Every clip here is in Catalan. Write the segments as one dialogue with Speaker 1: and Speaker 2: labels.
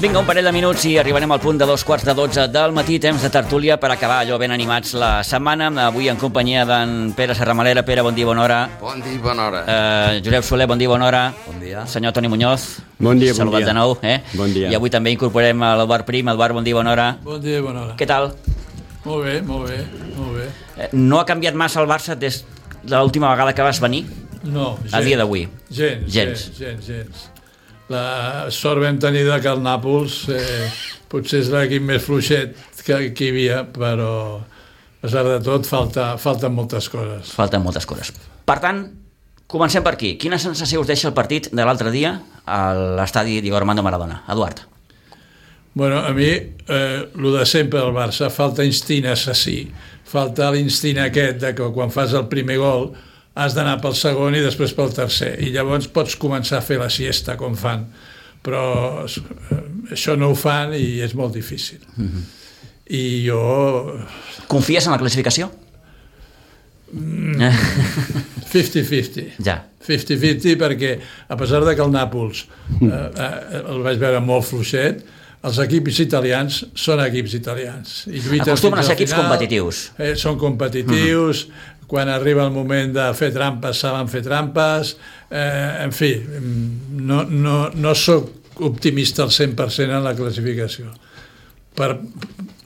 Speaker 1: Vinga, un parell de minuts i arribarem al punt de dos quarts de dotze del matí, temps de tertúlia per acabar allò ben animats la setmana. Avui en companyia d'en Pere Serramalera. Pere, bon dia, bona hora.
Speaker 2: Bon dia, i bona hora.
Speaker 1: Eh, Josep Soler, bon dia, bona hora.
Speaker 3: Bon dia.
Speaker 1: Senyor Toni Muñoz.
Speaker 4: Bon dia, bon
Speaker 1: Saludat
Speaker 4: dia.
Speaker 1: de nou, eh?
Speaker 4: Bon dia.
Speaker 1: I avui també incorporem a l'Eduard Prim. Eduard, bon dia, bona hora.
Speaker 5: Bon dia i bona hora.
Speaker 1: Què tal?
Speaker 5: Molt bé, molt bé, molt bé.
Speaker 1: Eh, No ha canviat massa el Barça des de l'última vegada que vas venir?
Speaker 5: No, gens.
Speaker 1: dia d'avui.
Speaker 5: Gens,
Speaker 1: Gens.
Speaker 5: gens, gens, gens. La sort vam tenir de que el Nàpols eh, potser és l'equip més fluixet que, que hi havia, però a pesar de tot falta, falten moltes coses.
Speaker 1: Falten moltes coses. Per tant, comencem per aquí. Quina sensació us deixa el partit de l'altre dia a l'estadi Diego Armando Maradona? Eduard.
Speaker 5: Bueno, a mi, eh, el de sempre del Barça, falta instint assassí. Falta l'instint aquest de que quan fas el primer gol has d'anar pel segon i després pel tercer. I llavors pots començar a fer la siesta, com fan. Però eh, això no ho fan i és molt difícil. Mm -hmm. I jo...
Speaker 1: Confies en la classificació?
Speaker 5: 50-50.
Speaker 1: Ja.
Speaker 5: 50-50 perquè a pesar de que el Nàpols eh, eh, el vaig veure molt fluixet els equips italians són equips italians i lluiten
Speaker 1: Acostumen a
Speaker 5: fins
Speaker 1: ser
Speaker 5: al
Speaker 1: equips
Speaker 5: final,
Speaker 1: competitius. Mhm.
Speaker 5: eh, són competitius quan arriba el moment de fer trampes saben fer trampes eh, en fi mm, no, no, no sóc optimista al 100% en la classificació per,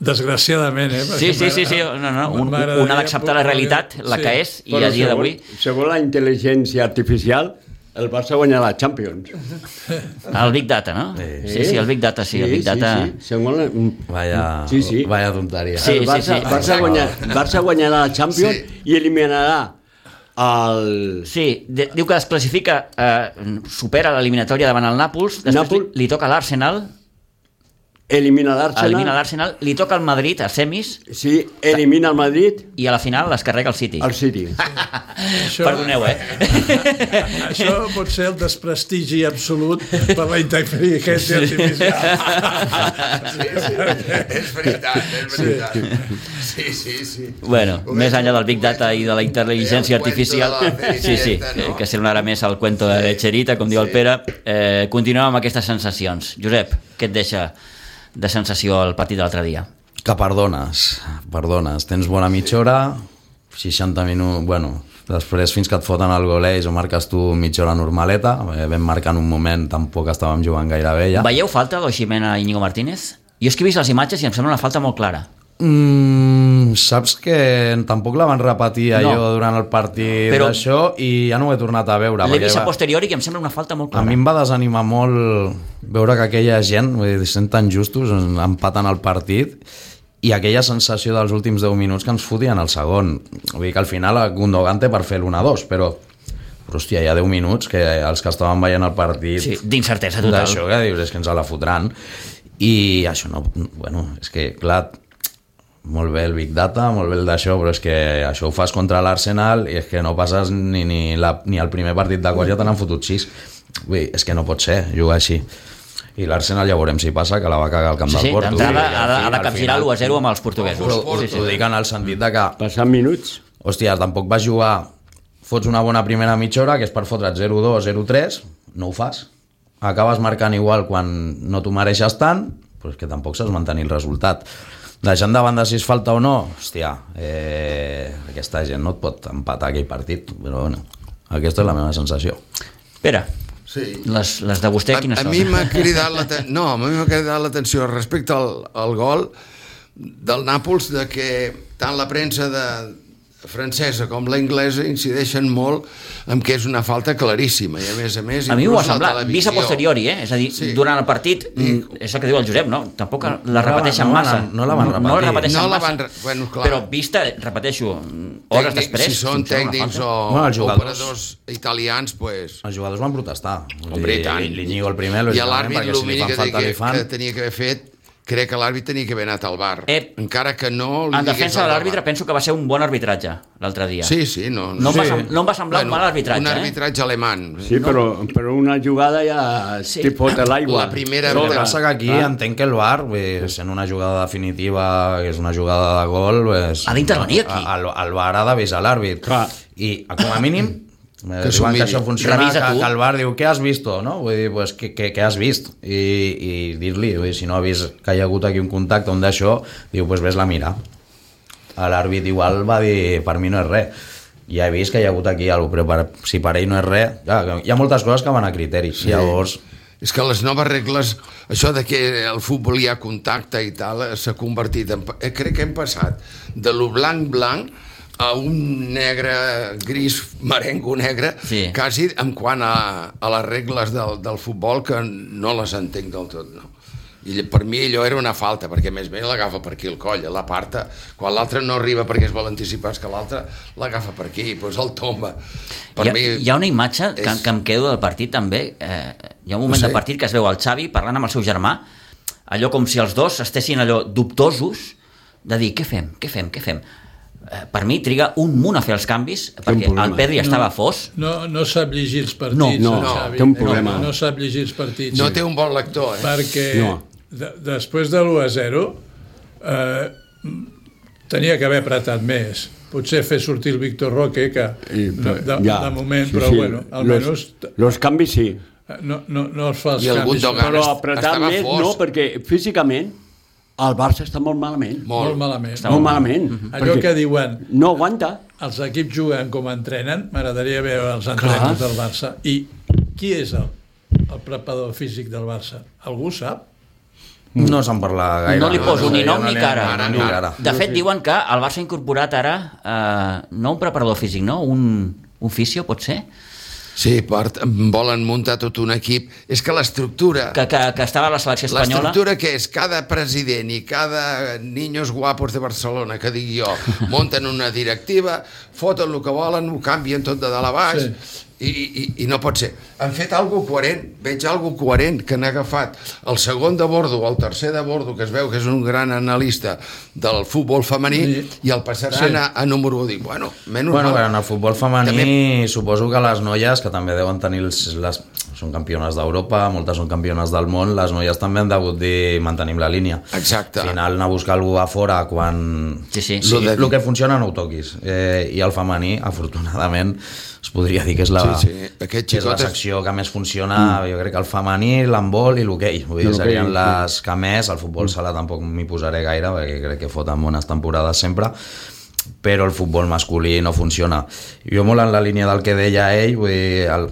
Speaker 5: desgraciadament eh,
Speaker 1: Sí, sí,
Speaker 5: perquè
Speaker 1: sí, sí. No, no. Un,
Speaker 5: m'agradaria
Speaker 1: un ha d'acceptar la
Speaker 5: poder-
Speaker 1: realitat, la
Speaker 5: Sí.
Speaker 1: que és, i
Speaker 4: Però
Speaker 1: a dia d'avui
Speaker 4: segons- Segons la intel·ligència artificial, el Barça guanyarà la Champions.
Speaker 1: el Big Data, no? Sí, sí, el Big Data, sí, el Big Data...
Speaker 4: Sí, sí, segons la... mm,
Speaker 3: Vaya,
Speaker 4: Sí, sí.
Speaker 3: vaya tonteria.
Speaker 1: Sí.
Speaker 4: el Barça,
Speaker 1: sí.
Speaker 4: Barça, guanyar, Barça guanyarà la Champions sí. i eliminarà el...
Speaker 1: Sí, de, diu que es classifica, eh, supera l'eliminatòria davant el Nàpols, després
Speaker 4: Nàpols.
Speaker 1: Li, li toca l'Arsenal,
Speaker 4: Elimina l'Arsenal.
Speaker 1: elimina l'Arsenal, li toca el Madrid a semis
Speaker 4: Sí, elimina el Madrid,
Speaker 1: i a la final les carrega el City.
Speaker 4: el City.
Speaker 5: Això-
Speaker 1: Perdoneu, eh?
Speaker 5: Això pot ser el desprestigi absolut per la intel·ligència artificial.
Speaker 2: Sí, sí, és veritat, és veritat. Sí, sí, sí.
Speaker 1: Bueno,
Speaker 2: Ho
Speaker 1: més
Speaker 2: veig,
Speaker 1: enllà del Big
Speaker 2: ho
Speaker 1: Data
Speaker 2: veig.
Speaker 1: i de la intel·ligència
Speaker 2: El cuento
Speaker 1: artificial,
Speaker 2: de la
Speaker 1: sí, sí,
Speaker 2: Cenicienta,
Speaker 1: eh,
Speaker 2: no?
Speaker 1: que semblarà més el cuento de Lecherita, com diu el
Speaker 2: Sí.
Speaker 1: Pere, eh, continuem amb aquestes sensacions. Josep, què et deixa de sensació el partit de l'altre dia?
Speaker 3: Que perdones, perdones. Tens bona mitja hora, 60 minuts... Bueno, després fins que et foten el gol ells o marques tu mitja hora normaleta, perquè vam marcar en un moment, tampoc estàvem jugant gaire bé ja.
Speaker 1: Veieu falta d'Oximena i Íñigo Martínez? Jo és que he vist les imatges i em sembla una falta molt clara.
Speaker 3: Mm, saps que tampoc la van repetir allò
Speaker 1: No.
Speaker 3: durant el partit
Speaker 1: Però-
Speaker 3: Però... d'això i ja no ho he tornat a veure.
Speaker 1: L'he
Speaker 3: perquè
Speaker 1: vist a
Speaker 3: va-
Speaker 1: posteriori que em sembla una falta molt
Speaker 3: A
Speaker 1: clara.
Speaker 3: mi em va desanimar molt veure que aquella gent, vull dir, sent tan justos, empaten el partit i aquella sensació dels últims 10 minuts que ens fotien el segon. Vull dir que al final el Gundogan té per fer l'1-2, però, però hòstia, hi ha 10 minuts que els que estaven veient el partit
Speaker 1: Sí, d'incertesa total.
Speaker 3: d'això que dius, és que ens la fotran. I això no... Bueno, és que, clar, molt bé el Big Data, molt bé el d'això, però és que això ho fas contra l'Arsenal i és que no passes ni, ni, la, ni el primer partit de quart ja te n'han fotut sis. Vull dir, és que no pot ser jugar així. I l'Arsenal ja veurem si passa, que la va cagar al camp
Speaker 1: Sí, sí,
Speaker 3: del Porto.
Speaker 1: d'entrada
Speaker 3: Vull dir,
Speaker 1: ha,
Speaker 3: al
Speaker 1: de-
Speaker 3: fi-
Speaker 1: ha de
Speaker 3: al
Speaker 1: capgirar
Speaker 3: final-
Speaker 1: l'1-0 amb els portuguesos.
Speaker 3: Però
Speaker 1: Sí, sí,
Speaker 3: ho
Speaker 1: sí.
Speaker 3: dic en el sentit de que
Speaker 4: Passant minuts.
Speaker 3: Hòstia, tampoc vas jugar... Fots una bona primera mitja hora, que és per fotre't 0-2, 0-3, no ho fas. Acabes marcant igual quan no t'ho mereixes tant, però és que tampoc saps mantenir el resultat. Deixant de banda si es falta o no, hòstia, eh, aquesta gent no et pot empatar aquell partit, però bueno, aquesta és la meva sensació.
Speaker 1: Pere,
Speaker 2: Sí.
Speaker 1: les, les de vostè, quines
Speaker 2: a, a
Speaker 1: són?
Speaker 2: mi m'ha cridat l'atenció no, a mi m'ha cridat l'atenció respecte al, al gol del Nàpols de que tant la premsa de francesa com la inglesa incideixen molt en que és una falta claríssima i a més a més
Speaker 1: A mi m'ho
Speaker 2: inclús
Speaker 1: ha semblat, vist
Speaker 2: la
Speaker 1: a
Speaker 2: televisió-
Speaker 1: posteriori, eh? És a dir, sí.
Speaker 2: Sí.
Speaker 1: durant el partit, mm, és el que diu el Josep, no? Tampoc la repeteixen
Speaker 3: no la van-
Speaker 1: massa.
Speaker 3: no la van
Speaker 1: No,
Speaker 3: repetir.
Speaker 1: la repeteixen
Speaker 2: No la
Speaker 1: massa.
Speaker 2: van re- bueno, clar.
Speaker 1: Però vista, repeteixo, hores
Speaker 2: Tècnics,
Speaker 1: després...
Speaker 2: si són
Speaker 1: funciona una
Speaker 2: tècnics o
Speaker 1: falta.
Speaker 3: Bueno, els jugadors-
Speaker 2: operadors italians pues,
Speaker 3: Els jugadors van protestar. Vull
Speaker 2: Hombre,
Speaker 3: dir,
Speaker 2: i tant.
Speaker 3: L'Iñigo el primer,
Speaker 2: I a
Speaker 3: lògicament,
Speaker 2: l'àrbit,
Speaker 3: perquè si li
Speaker 2: l'únic
Speaker 3: fan
Speaker 2: que,
Speaker 3: falta,
Speaker 2: que,
Speaker 3: li fan.
Speaker 2: que tenia que haver fet, crec que l'àrbit tenia que haver anat al bar.
Speaker 1: Ep.
Speaker 2: Encara que no... li
Speaker 1: Eh, En
Speaker 2: digués
Speaker 1: defensa de
Speaker 2: al
Speaker 1: l'àrbitre,
Speaker 2: bar.
Speaker 1: penso que va ser un bon arbitratge l'altre dia.
Speaker 2: Sí, sí, no...
Speaker 1: No, em va, sem- no em va semblar un mal arbitratge,
Speaker 2: Un
Speaker 1: eh?
Speaker 2: arbitratge alemany.
Speaker 4: Sí, però, però una jugada ja sí. t'hi fot a l'aigua.
Speaker 2: La primera
Speaker 3: El que
Speaker 2: Sobre.
Speaker 3: passa que aquí
Speaker 4: Clar.
Speaker 3: entenc que el VAR, eh, sent una jugada definitiva, que és una jugada de gol... És...
Speaker 1: Ha d'intervenir aquí.
Speaker 3: El, el VAR ha d'avisar l'àrbit.
Speaker 4: Clar.
Speaker 3: I, com a mínim, eh,
Speaker 2: Que s'ho
Speaker 3: diuen que
Speaker 2: miri.
Speaker 3: això funciona,
Speaker 1: Revisa
Speaker 3: que,
Speaker 1: tu.
Speaker 3: que el VAR diu, què has vist? No? Vull dir, pues, què, què, què has vist? I, i dir-li, vull dir, si no ha vist que hi ha hagut aquí un contacte, un d'això, diu, pues ves la mirar. A l'àrbit igual va dir, per mi no és res. Ja he vist que hi ha hagut aquí alguna cosa, però per, si per ell no és res... Clar, hi ha moltes coses que van a criteris, sí. llavors...
Speaker 2: És que les noves regles, això de que el futbol hi ha contacte i tal, eh, s'ha convertit en... eh, Crec que hem passat de lo blanc-blanc a un negre gris marengo negre
Speaker 1: Sí.
Speaker 2: quasi en quant a, a les regles del, del futbol que no les entenc del tot no? I ll- per mi allò era una falta perquè a més bé l'agafa per aquí el coll l'aparta, quan l'altre no arriba perquè es vol anticipar és que l'altre l'agafa per aquí i doncs el tomba per
Speaker 1: hi, ha,
Speaker 2: mi
Speaker 1: hi ha una imatge és... que,
Speaker 2: és-
Speaker 1: que em quedo del partit també eh, hi ha un moment
Speaker 2: No
Speaker 1: no
Speaker 2: sé.
Speaker 1: sé. de partit que es veu el Xavi parlant amb el seu germà allò com si els dos estessin allò dubtosos de dir què fem, què fem, què fem Eh, per mi triga un munt a fer els canvis perquè el
Speaker 4: problema.
Speaker 1: Pedri estava fos
Speaker 5: No, no sap llegir els partits.
Speaker 1: No,
Speaker 4: no,
Speaker 5: el Xavi.
Speaker 4: té un problema.
Speaker 5: No, no sap llegir els partits.
Speaker 2: no té un bon lector eh?
Speaker 5: Perquè
Speaker 4: No.
Speaker 5: de, després de l'1 a 0 eh, tenia que haver apretat més. Potser fer sortir el Víctor Roque, que
Speaker 4: I,
Speaker 5: no, de,
Speaker 4: ja.
Speaker 5: de moment, però bueno, almenys eh,
Speaker 4: Los, los canvis sí.
Speaker 5: no, no, no els fa els
Speaker 2: I el
Speaker 5: canvis.
Speaker 2: Gundogan.
Speaker 4: Però
Speaker 2: Estava
Speaker 4: apretar més
Speaker 2: fos.
Speaker 4: no, perquè físicament el Barça està molt malament.
Speaker 2: molt, Mhm.
Speaker 4: Molt,
Speaker 5: Molt malament.
Speaker 1: Està molt
Speaker 4: malament.
Speaker 5: Allò que diuen,
Speaker 4: No aguanta.
Speaker 5: els equips juguen com entrenen, m'agradaria veure els entrenaments del Barça. I qui és el, el preparador físic del Barça? Algú sap?
Speaker 3: No se'n parla gaire.
Speaker 1: no li poso ni
Speaker 3: Jo
Speaker 1: nom
Speaker 3: no
Speaker 1: ni
Speaker 3: n'he-
Speaker 1: cara.
Speaker 3: no n'he cara.
Speaker 1: De fet, diuen que el Barça ha incorporat ara eh, no un preparador físic, no? Un, un fisio, pot ser?
Speaker 2: Sí, part, volen muntar tot un equip. És que l'estructura...
Speaker 1: Que, que, que estava a la selecció espanyola.
Speaker 2: Ah. L'estructura que és cada president i cada niños guapos de Barcelona, que digui jo, munten una directiva, foten el que volen, ho canvien tot de dalt a baix, sí. i, i, i no pot ser. Han fet algo coherent, veig algo coherent, que han agafat el segon de bordo, el tercer de bordo, que es veu que és un gran analista del futbol femení,
Speaker 5: Sí.
Speaker 2: i el passaran
Speaker 5: Sí.
Speaker 2: sí. a, a número 1. Dic, bueno, menys
Speaker 3: Bueno,
Speaker 2: mal.
Speaker 3: però en el futbol femení
Speaker 2: També-
Speaker 3: suposo que les noies, que també deuen tenir els, les, són campiones d'Europa, moltes són campiones del món, les noies també han degut dir mantenim la línia.
Speaker 2: Exacte.
Speaker 3: Al final anar a buscar algú a fora quan...
Speaker 1: Sí, sí.
Speaker 3: sí
Speaker 2: Lo de-
Speaker 3: el que funciona no ho toquis. Eh, I el femení, afortunadament, es podria dir que és la,
Speaker 2: Sí, sí, aquest
Speaker 3: que és la
Speaker 2: xicot és-
Speaker 3: secció que més funciona, mm. jo crec que el femení, l'handbol i l'hoquei. Vull dir,
Speaker 4: L'hoquei,
Speaker 3: serien
Speaker 4: sí.
Speaker 3: les que més, el futbol sala tampoc m'hi posaré gaire, perquè crec que foten bones temporades sempre, però el futbol masculí no funciona. Jo molt en la línia del que deia ell, vull dir, el,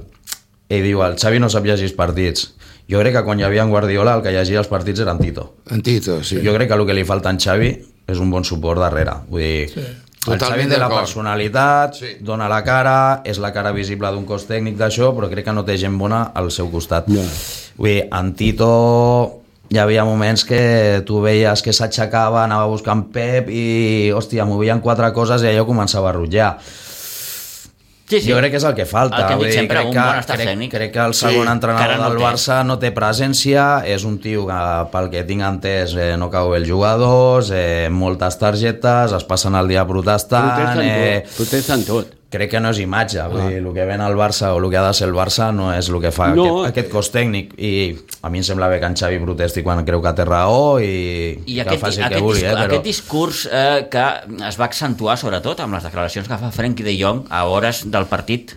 Speaker 3: ell diu, el Xavi no sap llegir els partits. Jo crec que quan hi havia en Guardiola el que llegia els partits era en Tito.
Speaker 2: Antito, sí.
Speaker 3: Jo crec que el que li falta en Xavi és un bon suport darrere. Vull dir, sí. el
Speaker 2: Totalment
Speaker 3: Xavi té la
Speaker 2: d'acord.
Speaker 3: personalitat, sí.
Speaker 2: Sí.
Speaker 3: dona la cara, és la cara visible d'un cos tècnic d'això, però crec que no té gent bona al seu costat.
Speaker 4: No.
Speaker 3: Vull dir, en Tito hi havia moments que tu veies que s'aixecava, anava buscant Pep i, hòstia, movien quatre coses i allò començava a rutllar.
Speaker 1: Sí,
Speaker 3: Sí. Jo crec que és el que falta.
Speaker 1: El que hem
Speaker 3: vull
Speaker 1: dit
Speaker 3: dir,
Speaker 1: sempre,
Speaker 3: crec
Speaker 1: un
Speaker 3: que,
Speaker 1: bon estat
Speaker 3: crec,
Speaker 1: tècnic.
Speaker 3: Crec que el segon sí,
Speaker 1: que
Speaker 3: entrenador
Speaker 1: ara no
Speaker 3: del
Speaker 1: té.
Speaker 3: Barça no té presència, és un tio que, pel que tinc entès, eh, no cau bé els jugadors, eh, moltes targetes, es passen el dia protestant...
Speaker 4: Protesten
Speaker 3: Eh,
Speaker 4: tot. Protesten tot.
Speaker 3: crec que no és imatge,
Speaker 1: Ah.
Speaker 3: vull dir, el que ven al Barça o el que ha de ser el Barça no és el que fa no,
Speaker 4: No.
Speaker 3: aquest, aquest cos tècnic i a mi em sembla bé que en Xavi protesti quan creu que té raó i,
Speaker 1: I
Speaker 3: que
Speaker 1: aquest,
Speaker 3: faci el
Speaker 1: aquest,
Speaker 3: que vulgui,
Speaker 1: discurs,
Speaker 3: eh, però...
Speaker 1: aquest discurs eh, que es va accentuar sobretot amb les declaracions que fa Frenkie de Jong a hores del partit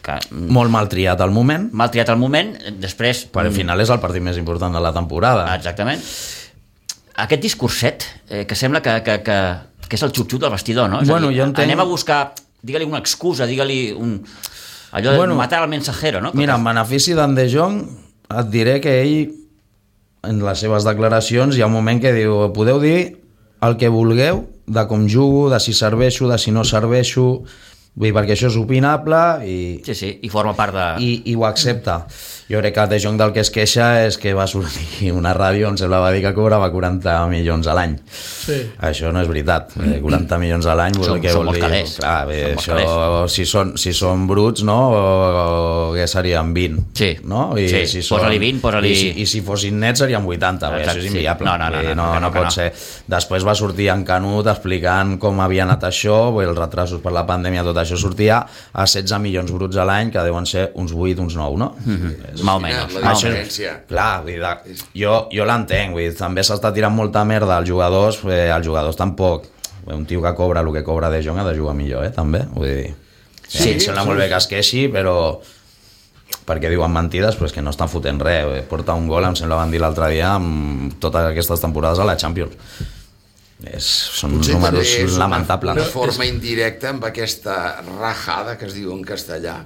Speaker 1: que mm,
Speaker 3: Molt mal triat al moment,
Speaker 1: mal triat el moment, eh, després
Speaker 3: però al
Speaker 1: mm, Ah,
Speaker 3: final és el partit més important de la temporada.
Speaker 1: exactament aquest discurset eh, que sembla que, que, que, que és el xup-xup del vestidor no? És a
Speaker 3: Bueno,
Speaker 1: dir,
Speaker 3: jo entenc-
Speaker 1: anem a buscar digue-li una excusa, digue-li un... allò
Speaker 3: Bueno,
Speaker 1: de matar al mensajero no?
Speaker 3: Mira, en benefici d'en De Jong, et diré que ell, en les seves declaracions, hi ha un moment que diu podeu dir el que vulgueu, de com jugo, de si serveixo, de si no serveixo, vull dir, perquè això és opinable i,
Speaker 1: Sí, sí, i forma part de... I...
Speaker 3: i, i ho accepta. Jo crec que De Jong del que es queixa és que va sortir una ràdio on sembla va dir que cobrava 40 milions a l'any.
Speaker 5: Sí.
Speaker 3: Això no és veritat. Eh, 40 milions a l'any vol
Speaker 1: Són-
Speaker 3: dir que
Speaker 1: són
Speaker 3: vol
Speaker 1: molts
Speaker 3: dir...
Speaker 1: calés.
Speaker 3: Clar, bé,
Speaker 1: Són molts
Speaker 3: això, si, són, si són bruts, no? O, o què serien 20?
Speaker 1: Sí.
Speaker 3: No?
Speaker 1: Sí, posa-li 20, posa-li-
Speaker 3: I, si, I si fossin nets serien 80, bé,
Speaker 1: Exacte,
Speaker 3: això és
Speaker 1: sí.
Speaker 3: inviable.
Speaker 1: No, no, no,
Speaker 3: Vull dir,
Speaker 1: no,
Speaker 3: no,
Speaker 1: que no,
Speaker 3: no
Speaker 1: que
Speaker 3: pot
Speaker 1: no.
Speaker 3: ser. Després va sortir en Canut explicant com havia anat això, vull dir, els retrasos per la pandèmia, tot això sortia a 16 milions bruts a l'any, que deuen ser uns 8, uns 9, no? Mm -hmm.
Speaker 1: Mal o menys.
Speaker 2: la
Speaker 1: mal o
Speaker 3: Això-
Speaker 1: menys.
Speaker 2: diferència.
Speaker 3: Clar, vull dir, de- jo, jo l'entenc, vull dir, també s'està tirant molta merda als jugadors, eh, als jugadors tampoc. Vull dir, Un tio que cobra el que cobra De Jong ha de jugar millor, eh, també. Vull dir, sí, sí, em sembla molt bé que es queixi, però perquè diuen mentides, però és que no estan fotent res. Vull dir, Porta un gol, em sembla van dir l'altre dia, amb totes aquestes temporades a la Champions. És, són
Speaker 2: Potser
Speaker 3: números
Speaker 2: també és una-
Speaker 3: lamentables.
Speaker 2: Una forma indirecta amb aquesta rajada que es diu en castellà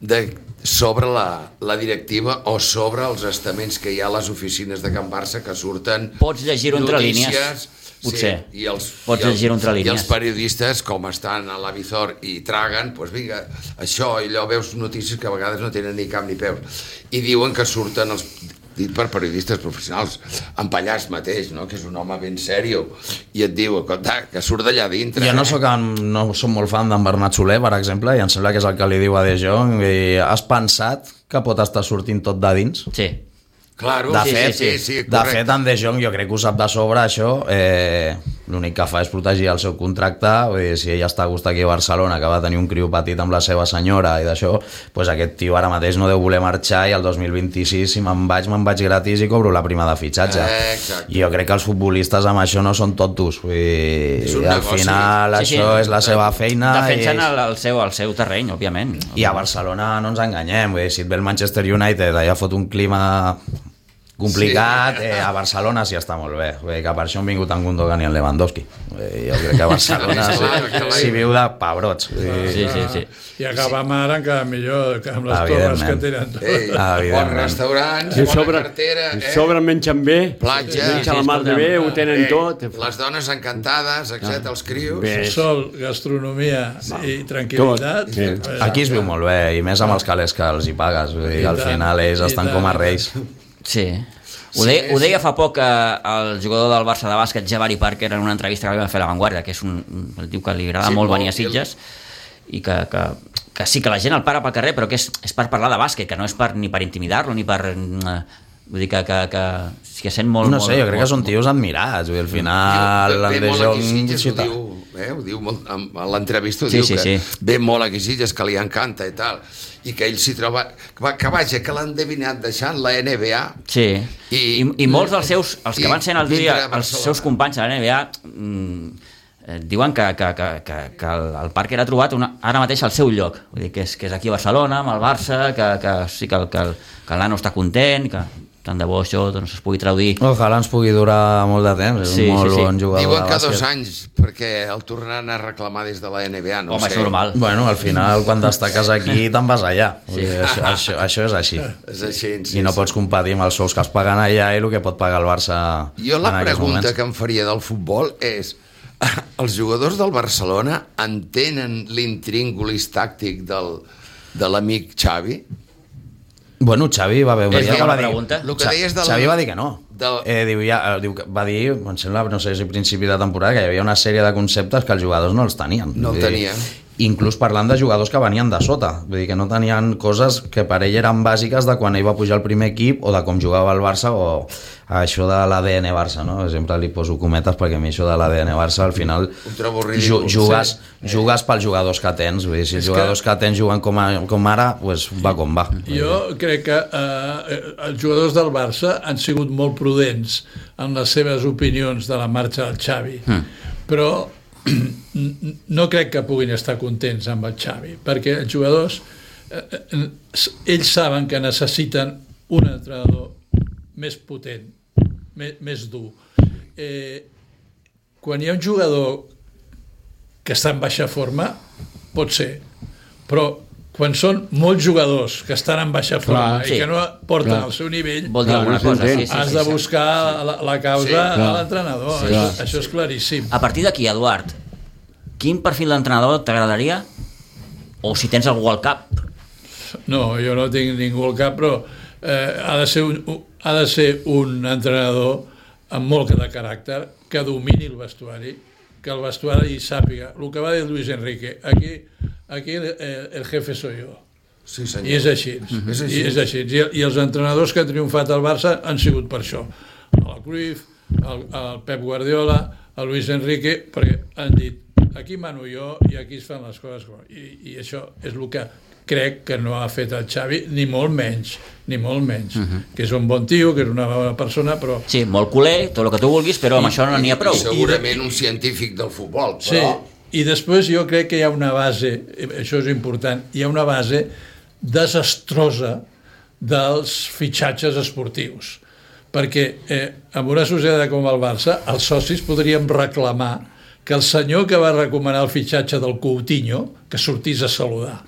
Speaker 2: de, sobre la, la directiva o sobre els estaments que hi ha a les oficines de Can Barça que surten
Speaker 1: Pots llegir-ho entre
Speaker 2: notícies,
Speaker 1: línies, potser.
Speaker 2: Sí, i els,
Speaker 1: Pots
Speaker 2: i els,
Speaker 1: llegir-ho entre
Speaker 2: I
Speaker 1: línies.
Speaker 2: els periodistes, com estan a la Bizor i traguen, doncs vinga, això, i allò veus notícies que a vegades no tenen ni cap ni peus. I diuen que surten els dit per periodistes professionals, en Pallàs mateix, no? que és un home ben serio, i et diu, escolta, que surt d'allà dintre.
Speaker 3: Jo no
Speaker 2: eh?"
Speaker 3: sóc, en, no sóc molt fan d'en Bernat Soler, per exemple, i em sembla que és el que li diu a De Jong, i has pensat que pot estar sortint tot de dins?
Speaker 1: Sí.
Speaker 2: Claro,
Speaker 3: De
Speaker 2: sí,
Speaker 3: fet,
Speaker 2: sí, sí, sí,
Speaker 3: de
Speaker 2: correcte.
Speaker 3: fet, en De Jong jo crec que ho sap de sobre, això. Eh, L'únic que fa és protegir el seu contracte. Vull dir, si ella està a gust aquí a Barcelona, que va tenir un criu petit amb la seva senyora i d'això, doncs aquest tio ara mateix no deu voler marxar i el 2026, si me'n vaig, me'n vaig gratis i cobro la prima de fitxatge.
Speaker 2: Eh, exacte.
Speaker 3: Jo crec que els futbolistes amb això no són tontos. Vull
Speaker 2: És
Speaker 3: dir,
Speaker 2: un
Speaker 3: al
Speaker 2: negoci.
Speaker 3: final
Speaker 1: Sí, sí.
Speaker 3: això és la seva feina.
Speaker 1: Defensen
Speaker 3: i...
Speaker 1: el, el, seu, el seu terreny, òbviament.
Speaker 3: I a Barcelona no ens enganyem, vull dir, si et ve el Manchester United allà fot un clima complicat,
Speaker 2: Sí.
Speaker 3: sí. eh, a Barcelona sí està molt bé, vull dir, que per això han vingut en Gundogan i en Lewandowski. Vull dir, jo crec que a Barcelona
Speaker 2: Sí,
Speaker 3: sí,
Speaker 2: clar, clar.
Speaker 3: s'hi viu de pebrots. Vull dir,
Speaker 1: Sí, sí, sí.
Speaker 5: I acabar amb ara encara millor que amb les torres que
Speaker 3: Evidentment.
Speaker 5: tenen.
Speaker 2: Ei, bons
Speaker 3: eh, Evidentment.
Speaker 2: restaurants,
Speaker 4: I a
Speaker 2: bona
Speaker 4: sobre,
Speaker 2: cartera,
Speaker 4: i
Speaker 2: eh?
Speaker 4: a sobre mengen bé,
Speaker 2: Platja.
Speaker 4: mengen la mar de bé, ho tenen
Speaker 2: Ei,
Speaker 4: tot.
Speaker 2: Les dones encantades, excepte els crios.
Speaker 4: Bé.
Speaker 5: Sol, gastronomia i tranquil·litat.
Speaker 4: Tot, sí.
Speaker 5: Eh,
Speaker 3: Aquí es viu molt bé, i més amb els calés que els hi pagues. Vull dir,
Speaker 5: I
Speaker 3: al
Speaker 5: tant,
Speaker 3: final ells
Speaker 5: i
Speaker 3: estan
Speaker 5: tant.
Speaker 3: com a reis.
Speaker 1: Sí. Ho, de, ho deia fa poc eh, el jugador del Barça de bàsquet, Javari Parker, en una entrevista que li va fer a La Vanguardia, que és un, un tio que li agrada
Speaker 2: Sí,
Speaker 1: sí, molt
Speaker 2: molt,
Speaker 1: venir a Sitges, i que, que, que sí que la gent el para pel carrer, però que és, és per parlar de bàsquet, que no és per, ni per intimidar-lo, ni per... Eh, vull dir que, que, que, que sent molt...
Speaker 3: No sé,
Speaker 1: molt,
Speaker 3: jo crec que
Speaker 1: molt,
Speaker 3: són tios admirats. Vull dir, al final...
Speaker 2: Diu, ve
Speaker 3: el De
Speaker 2: molt aquí a
Speaker 3: Jong-
Speaker 2: Sitges, ho
Speaker 3: Ciutat-
Speaker 2: diu, eh, ho diu molt, amb- a l'entrevista ho
Speaker 1: Sí,
Speaker 2: diu
Speaker 1: sí,
Speaker 2: que
Speaker 1: sí.
Speaker 2: ve molt aquí a Sitges, que li encanta i tal, i que ell s'hi troba... Que, va- que vaja, que l'han devinat deixant la NBA.
Speaker 1: Sí, I,
Speaker 2: I-
Speaker 1: I, i molts dels seus, els que
Speaker 2: i
Speaker 1: van sent el
Speaker 2: vindrà
Speaker 1: dia,
Speaker 2: a
Speaker 1: els
Speaker 2: Barcelona.
Speaker 1: seus companys a la NBA, mm, eh, diuen que, que, que, que, que el, el Parker ha trobat una, ara mateix el seu lloc, vull dir que és, que és aquí a Barcelona, amb el Barça, que, que sí que, el- que, el- que el nano està content, que tant de bo això doncs, es pugui traduir.
Speaker 3: Ojalà ens pugui durar molt de temps, és
Speaker 1: Sí, sí,
Speaker 3: un molt
Speaker 1: sí.
Speaker 3: bon jugador
Speaker 2: Diuen
Speaker 3: de
Speaker 2: que dos
Speaker 3: bàsquet.
Speaker 2: anys, perquè el tornaran a reclamar des de la NBA, no
Speaker 1: Home,
Speaker 2: ho
Speaker 1: és
Speaker 2: sé.
Speaker 1: normal.
Speaker 3: Bueno, al final, quan destaques aquí, te'n vas allà. Sí. Això, això, això és així.
Speaker 2: És així, sí,
Speaker 3: I no
Speaker 2: sí.
Speaker 3: pots competir amb els sous que es paguen allà i el que pot pagar el Barça
Speaker 2: Jo la
Speaker 3: en aquests
Speaker 2: pregunta
Speaker 3: moments.
Speaker 2: que em faria del futbol és els jugadors del Barcelona entenen l'intríngulis tàctic del, de l'amic Xavi?
Speaker 3: Bueno, Xavi va veure...
Speaker 1: És
Speaker 3: ja
Speaker 1: una
Speaker 3: que
Speaker 1: bona
Speaker 3: va dir-
Speaker 1: pregunta.
Speaker 2: Lo que
Speaker 3: Xa-
Speaker 2: deies del-
Speaker 3: Xavi va dir que no.
Speaker 2: del-
Speaker 3: Eh, diu, ja, eh, diu que, va dir, em sembla, no sé si principi de temporada, que hi havia una sèrie de conceptes que els jugadors no els tenien.
Speaker 2: No el
Speaker 3: Vull dir,
Speaker 2: tenien.
Speaker 3: Inclús parlant de jugadors que venien de sota, vull dir que no tenien coses que per ell eren bàsiques de quan ell va pujar al primer equip o de com jugava el Barça o això de l'ADN Barça, no? Sempre li poso cometes perquè a mi això de l'ADN Barça al final
Speaker 2: Ho trobo ridícul, Eh.
Speaker 3: jugues, jugues pels jugadors que tens, vull dir, si els jugadors que... tens juguen com, a, com ara, pues va com va.
Speaker 5: Jo crec que eh, els jugadors del Barça han sigut molt prudents en les seves opinions de la marxa del Xavi, mm. però no crec que puguin estar contents amb el Xavi, perquè els jugadors, eh, eh, s- ells saben que necessiten un entrenador més potent, més, més dur. Eh, quan hi ha un jugador que està en baixa forma, pot ser, però quan són molts jugadors que estan en baixa forma
Speaker 1: Clar.
Speaker 5: i
Speaker 1: Sí.
Speaker 5: que no porten
Speaker 4: Clar.
Speaker 5: el seu nivell,
Speaker 1: Vol dir
Speaker 4: Clar,
Speaker 1: alguna
Speaker 4: no
Speaker 1: cosa, sí, sí,
Speaker 4: s'entén.
Speaker 1: sí,
Speaker 5: has
Speaker 1: sí,
Speaker 5: de
Speaker 1: sí.
Speaker 5: buscar la, la causa
Speaker 2: Sí,
Speaker 5: a
Speaker 4: clar.
Speaker 5: l'entrenador.
Speaker 4: Sí,
Speaker 5: això,
Speaker 4: clar.
Speaker 5: això és claríssim.
Speaker 1: A partir d'aquí, Eduard, quin perfil d'entrenador t'agradaria? O si tens algú al cap?
Speaker 5: No, jo no tinc ningú al cap, però eh, ha, de ser un, u- ha de ser un entrenador amb molt de caràcter, que domini el vestuari, que el vestuari hi sàpiga. El que va dir Luis Enrique, aquí, aquí el, el, el jefe soy yo.
Speaker 2: Sí, senyor.
Speaker 5: I és així.
Speaker 2: És així.
Speaker 5: És així. I, és així. I, I els entrenadors que han triomfat al Barça han sigut per això. El Cruyff, el, el Pep Guardiola, el Luis Enrique, perquè han dit aquí mano jo i aquí es fan les coses. com-". I, i això és el que crec que no ha fet el Xavi, ni molt menys, ni molt menys. Uh
Speaker 2: Mhm.
Speaker 5: -huh. Que és un bon tio, que és una bona persona, però...
Speaker 1: Sí, molt culer, tot el que tu vulguis, però amb això no n'hi ha prou.
Speaker 2: I segurament un científic del futbol,
Speaker 5: Sí,
Speaker 2: però...
Speaker 5: i després jo crec que hi ha una base, eh, això és important, hi ha una base desastrosa dels fitxatges esportius. Perquè eh, amb una societat com el Barça, els socis podríem reclamar que el senyor que va recomanar el fitxatge del Coutinho, que sortís a saludar.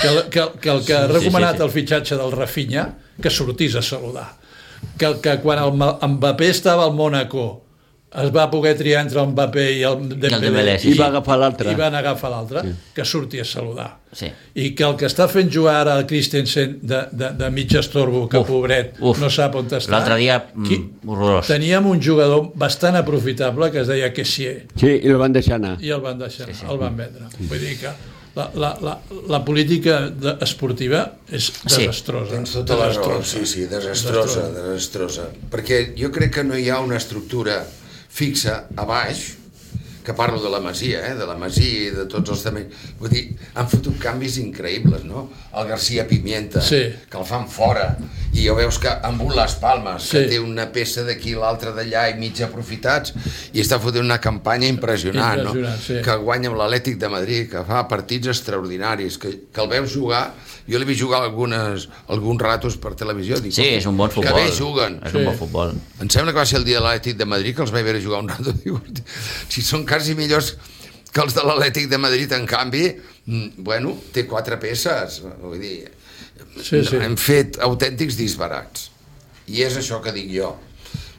Speaker 5: Que, el- que, el- que el que ha
Speaker 1: sí,
Speaker 5: recomanat
Speaker 1: sí.
Speaker 5: el fitxatge del Rafinha, que sortís a saludar. Que, que quan el Ma- Mbappé estava al Mónaco, es va poder triar entre el Mbappé i el
Speaker 1: Dembélé,
Speaker 5: Dembélé,
Speaker 1: Sí,
Speaker 4: I va
Speaker 1: sí.
Speaker 4: agafar l'altre.
Speaker 5: i van agafar l'altre, que surti a saludar.
Speaker 1: Sí.
Speaker 5: I que el que està fent jugar ara el Christensen de, de, de mig estorbo, que
Speaker 1: Uf,
Speaker 5: uf, pobret,
Speaker 1: uf.
Speaker 5: no sap on està.
Speaker 1: L'altre dia, mm, horrorós.
Speaker 5: Teníem un jugador bastant aprofitable que es deia Kessier,
Speaker 4: Sí, i el van deixar anar.
Speaker 5: i el van deixar, sí, sí. el van vendre. Vull dir que la, la, la, la política de, esportiva és desastrosa.
Speaker 2: Tens tota la raó,
Speaker 5: desastrosa.
Speaker 2: sí, sí, desastrosa, desastrosa. Perquè jo crec que no hi ha una estructura fixa a baix, que parlo de la Masia, eh? de la Masia i de tots els també. Vull dir, han fotut canvis increïbles, no? El Garcia Pimienta,
Speaker 5: Sí.
Speaker 2: que el fan fora, i ja veus que amb un Las Palmes, que
Speaker 5: Sí.
Speaker 2: té una peça d'aquí, l'altra d'allà, i mig aprofitats, i està fotent una campanya impressionant,
Speaker 5: Impressionant,
Speaker 2: no?
Speaker 5: sí.
Speaker 2: Que guanya amb l'Atlètic de Madrid, que fa partits extraordinaris, que, que el veus jugar, jo l'he vist jugar algunes, alguns ratos per televisió. Dic,
Speaker 1: Sí, és un bon futbol.
Speaker 2: Que bé juguen.
Speaker 1: És un bon futbol.
Speaker 2: Em sembla que va ser el dia de l'Atlètic de Madrid que els vaig veure jugar un rato. Diu, si són quasi millors que els de l'Atlètic de Madrid, en canvi, mm, bueno, té quatre peces. Vull dir,
Speaker 5: Sí, sí.
Speaker 2: hem fet autèntics disbarats. I és això que dic jo.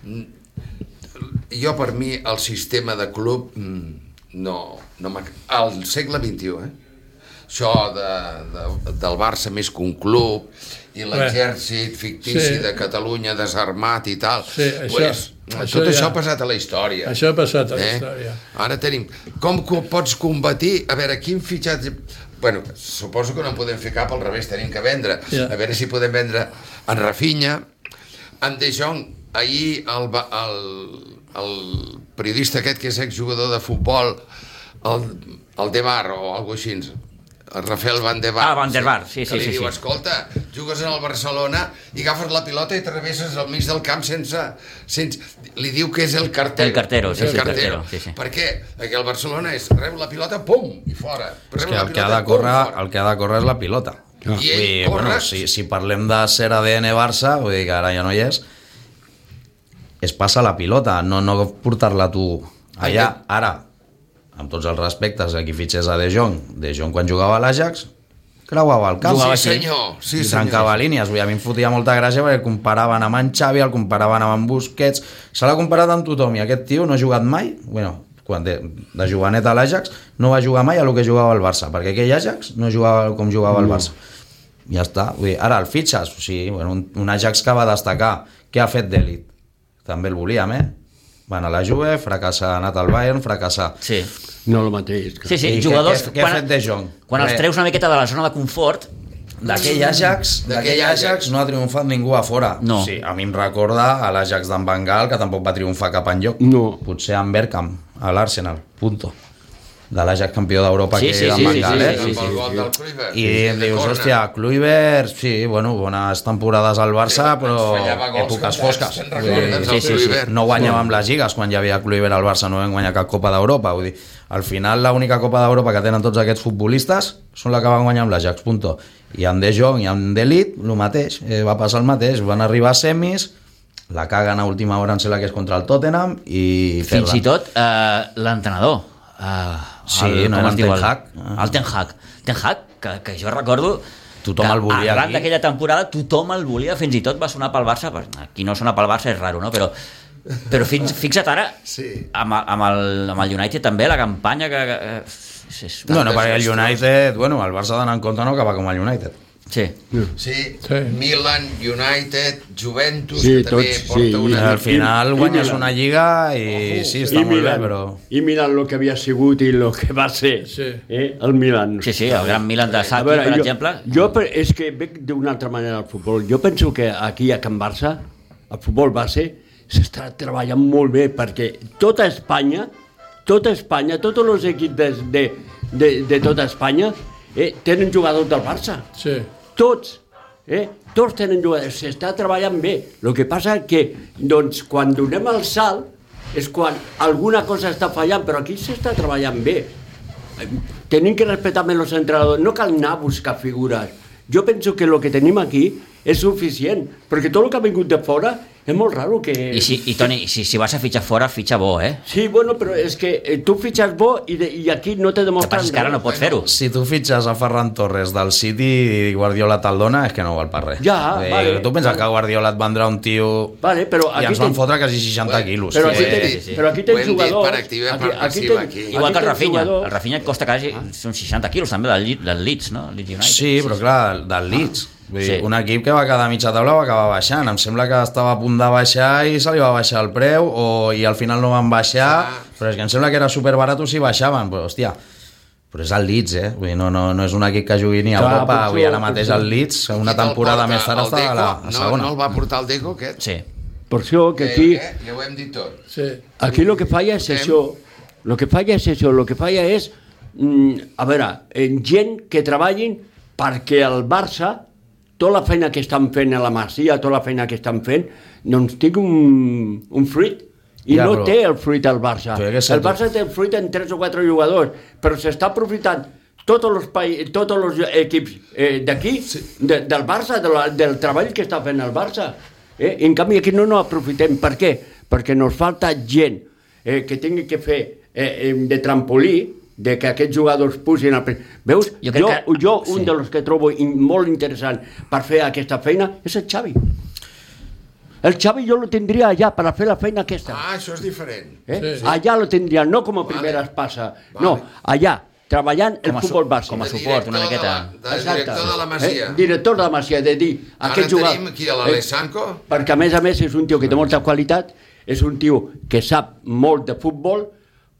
Speaker 2: Mm, Jo, per mi, el sistema de club mm, no, no m'ac- Al segle XXI, eh? Això de, de, del Barça més que un club i l'exèrcit fictici
Speaker 5: sí.
Speaker 2: de Catalunya desarmat i tal.
Speaker 5: Sí, això-
Speaker 2: pues,
Speaker 5: això
Speaker 2: tot
Speaker 5: ja-
Speaker 2: això ha passat a la història.
Speaker 5: Això ha passat a la
Speaker 2: Eh?
Speaker 5: història.
Speaker 2: Ara tenim... Com que ho pots combatir? A veure, quin fitxatge... Bueno, suposo que no en podem fer cap, al revés, tenim que vendre.
Speaker 5: Ja.
Speaker 2: A veure si podem vendre en Rafinha, en De Jong, ahir el, va- el, el periodista aquest que és exjugador de futbol, el, el De Bar o alguna cosa així, el Rafael Van de Bar.
Speaker 1: Ah, Van der Vaart, sí, sí,
Speaker 2: que li
Speaker 1: sí,
Speaker 2: diu,
Speaker 1: sí.
Speaker 2: escolta, jugues en el Barcelona i agafes la pilota i travesses al mig del camp sense... sense... Li diu que és el cartero.
Speaker 1: El cartero, sí,
Speaker 2: el
Speaker 1: sí, el cartero,
Speaker 2: cartero.
Speaker 1: sí, sí.
Speaker 2: Per què? Perquè el Barcelona és rep la pilota, pum, i fora. Rep
Speaker 3: És que
Speaker 2: la
Speaker 3: el que, ha
Speaker 2: pilota,
Speaker 3: de
Speaker 2: pum,
Speaker 3: córrer,
Speaker 2: fora.
Speaker 3: el que ha de córrer és la pilota.
Speaker 2: Ah. I ell
Speaker 3: Vull dir,
Speaker 2: corre-
Speaker 3: bueno, si, si parlem de ser ADN Barça, vull dir que ara ja no hi és, es passa la pilota, no, no portar-la tu allà.
Speaker 2: Ai,
Speaker 3: Ara, amb tots els respectes, aquí fitxes a De Jong. De Jong quan jugava a l'Ajax, creuava el camp.
Speaker 2: Sí, senyor. Sí,
Speaker 3: I
Speaker 2: senyor.
Speaker 3: trencava línies. Vull dir, a mi em fotia molta gràcia perquè el comparaven amb en Xavi, el comparaven amb en Busquets, se l'ha comparat amb tothom i aquest tio no ha jugat mai, bueno, quan de, de jovenet a l'Ajax, no va jugar mai a lo que jugava el Barça, perquè aquell Ajax no jugava com jugava el Barça. Ja està. Vull dir, ara el fitxes, o sigui, bueno, un, un Ajax que va destacar, què ha fet d'elit? També el volíem, eh? Van a la Juve, fracassar, ha anat al Bayern, fracassar.
Speaker 1: Sí.
Speaker 4: No el mateix. clar.
Speaker 1: Sí, sí,
Speaker 3: I què-
Speaker 1: jugadors...
Speaker 3: què- què ha fet De Jong?
Speaker 1: Quan els
Speaker 3: Res.
Speaker 1: treus una miqueta de la zona de confort,
Speaker 3: D'aquell Ajax, Mm. d'aquell Ajax no ha triomfat ningú a fora.
Speaker 1: No.
Speaker 3: Sí, a mi em recorda a l'Ajax d'en Bengal, que tampoc va triomfar cap enlloc.
Speaker 4: No.
Speaker 3: Potser en Bergkamp, a l'Arsenal, punto. De l'Ajax campió d'Europa
Speaker 1: Sí,
Speaker 3: que
Speaker 1: sí,
Speaker 3: era
Speaker 1: sí,
Speaker 3: en
Speaker 1: sí,
Speaker 3: Bengal,
Speaker 1: sí,
Speaker 3: eh?
Speaker 1: sí, sí.
Speaker 2: Amb el gol del Kluivert.
Speaker 3: I
Speaker 2: Sí, de
Speaker 3: dius,
Speaker 2: corna.
Speaker 3: hòstia, Kluivert, sí, bueno, bones temporades al Barça,
Speaker 2: Ens
Speaker 3: però
Speaker 2: fallava gols
Speaker 3: èpoques
Speaker 2: contra-
Speaker 3: fosques.
Speaker 2: se'n
Speaker 3: Vull dir,
Speaker 2: recorden
Speaker 1: Sí, sí,
Speaker 2: del
Speaker 1: sí.
Speaker 2: Kluivert.
Speaker 3: no guanyàvem les lligues quan hi havia Kluivert al Barça, no vam guanyar cap Copa d'Europa vull dir, al final l'única Copa d'Europa que tenen tots aquests futbolistes són la que van guanyar amb l'Ajax, punto i en De Jong i en De Ligt, el mateix eh, va passar el mateix, van arribar a semis la caguen a última hora en ser la que és contra el Tottenham i
Speaker 1: fins
Speaker 3: perden.
Speaker 1: i tot eh, l'entrenador. Eh,
Speaker 3: Sí, no
Speaker 1: com
Speaker 3: era
Speaker 1: es
Speaker 3: en
Speaker 1: diu
Speaker 3: Ten Hag.
Speaker 1: El Ten Hag. Ten Hag que, que jo recordo
Speaker 3: Tothom
Speaker 1: que
Speaker 3: el volia
Speaker 1: arran
Speaker 3: aquí.
Speaker 1: d'aquella temporada tothom el volia, fins i tot va sonar pel Barça per- qui no sona pel Barça és raro, no? però, però fins, fixa't ara
Speaker 2: Sí.
Speaker 1: amb, amb, el, amb el United també la campanya que, que és, és,
Speaker 3: No, no, perquè el United... Bueno, el Barça d'anar en compte no acaba com el United.
Speaker 1: sí.
Speaker 2: Sí,
Speaker 5: Sí.
Speaker 2: Milan, United, Juventus,
Speaker 4: Sí,
Speaker 2: que també
Speaker 4: tots,
Speaker 2: porta
Speaker 4: sí,
Speaker 3: I
Speaker 2: una...
Speaker 3: al final
Speaker 4: I- i
Speaker 3: guanyes
Speaker 4: Milan.
Speaker 3: una lliga i sí,
Speaker 4: I
Speaker 3: està molt bé,
Speaker 4: Milan,
Speaker 3: però...
Speaker 4: I Milan el que havia sigut i el que va ser
Speaker 5: Sí.
Speaker 4: eh, el Milan.
Speaker 1: sí, sí, el gran Milan de
Speaker 4: A
Speaker 1: Saki,
Speaker 4: veure,
Speaker 1: per
Speaker 4: jo,
Speaker 1: exemple
Speaker 4: Jo per, és que veig d'una altra manera el futbol. Jo penso que aquí a Can Barça, el futbol base, s'està treballant molt bé perquè tota Espanya, tota Espanya, tots els equips de, de, de, de tota Espanya eh, tenen jugadors del Barça
Speaker 5: Sí.
Speaker 4: tots, eh? tots tenen jugadors, s'està treballant bé. El que passa que, doncs, quan donem el salt, és quan alguna cosa està fallant, però aquí s'està treballant bé. Eh, Tenim que respectar més els entrenadors, no cal anar a buscar figures. Jo penso que el que tenim aquí és suficient, perquè tot el que ha vingut de fora és molt raro que...
Speaker 1: i, si, i Toni, si, si vas a fitxar fora, fitxa bo, eh?
Speaker 4: Sí, bueno, però és que eh, tu fitxes bo i, de, i aquí no te
Speaker 1: El que
Speaker 4: demostren...
Speaker 1: passa és que ara no
Speaker 4: res.
Speaker 1: pots fer-ho
Speaker 3: Si tu fitxes a Ferran Torres del City i Guardiola te'l dona, és que no val per res.
Speaker 4: Ja,
Speaker 3: Vull dir,
Speaker 4: vale.
Speaker 3: Tu penses que Guardiola et vendrà un tio...
Speaker 4: Vale, però
Speaker 3: I
Speaker 4: aquí
Speaker 3: ens van
Speaker 4: tens-
Speaker 3: fotre quasi 60
Speaker 2: Bueno,
Speaker 3: quilos. eh?
Speaker 4: Però
Speaker 2: Sí,
Speaker 4: aquí,
Speaker 2: sí,
Speaker 4: tens,
Speaker 2: sí, sí.
Speaker 4: però aquí
Speaker 2: Ho
Speaker 4: tens
Speaker 2: hem dit per
Speaker 4: jugadors...
Speaker 2: activa i per passiva aquí.
Speaker 1: Igual que el
Speaker 4: tens
Speaker 1: Rafinha.
Speaker 4: jugadors-
Speaker 1: El Rafinha et costa quasi... Són 60 quilos, també, del, Lid- del Leeds, no? El Leeds United.
Speaker 3: Sí, però clar, del Leeds. Vull dir,
Speaker 1: Sí.
Speaker 3: Un equip que va quedar a mitja taula va acabar baixant. Em sembla que estava a punt de baixar i se li va baixar el preu o, i al final no van baixar. Però és que em sembla que era superbarat o si baixaven. Però, hòstia, però és el Leeds, eh? Vull dir, no, no, no és un equip que jugui ni a
Speaker 4: Clar,
Speaker 3: Europa.
Speaker 4: potser-
Speaker 3: Avui ara mateix el Leeds, una
Speaker 2: Qui te'l
Speaker 3: temporada
Speaker 2: porta?
Speaker 3: més tard,
Speaker 2: El
Speaker 3: està a la
Speaker 2: Deco?
Speaker 3: a segona.
Speaker 2: No, no el va portar el Deco, aquest?
Speaker 1: Sí.
Speaker 4: Per això que aquí,
Speaker 2: Eh, ja ho hem dit tot.
Speaker 5: Sí.
Speaker 4: aquí lo que falla és això, lo que falla és això, lo que falla és, mm, a veure, eh, gent que treballin perquè el Barça, tota la feina que estan fent a la Masia, tota la feina que estan fent, doncs tingui un, un fruit, i
Speaker 3: Ja,
Speaker 4: no
Speaker 3: però-
Speaker 4: té el fruit al Barça.
Speaker 3: Jo crec que
Speaker 4: El
Speaker 3: sento-
Speaker 4: Barça té el fruit en 3 o 4 jugadors, però s'està aprofitant tots els, pai... tots els equips eh, d'aquí, de, del Barça, de la, del treball que està fent el Barça. Eh? En canvi, aquí no no aprofitem. Per què? Perquè nos falta gent eh, que tingui que fer eh, eh, de trampolí, de que aquests jugadors pusin... El... Veus?
Speaker 1: Jo
Speaker 4: Jo,
Speaker 1: crec
Speaker 4: jo,
Speaker 1: que-
Speaker 4: jo un
Speaker 1: sí.
Speaker 4: sí. dels que trobo in, molt interessant per fer aquesta feina és el Xavi. El Xavi jo lo tindria allà per a fer la feina aquesta.
Speaker 2: Ah, això és diferent.
Speaker 4: Eh?
Speaker 5: Sí, sí.
Speaker 4: Allà lo tindrien, no com a primera vale. espasa,
Speaker 2: Vale.
Speaker 4: no, allà, treballant el
Speaker 1: Com a su-
Speaker 4: futbol base.
Speaker 1: com a
Speaker 2: De
Speaker 1: suport, una miqueta.
Speaker 2: director de la- De, director de la Masia.
Speaker 4: Eh? Director de la Masia, de dir,
Speaker 2: Ara
Speaker 4: aquest
Speaker 2: tenim
Speaker 4: jugador... Eh?
Speaker 2: aquí a l'Alessanco.
Speaker 3: Eh,
Speaker 4: perquè a més a més és un tio que té molta qualitat, és un tio que sap molt de futbol,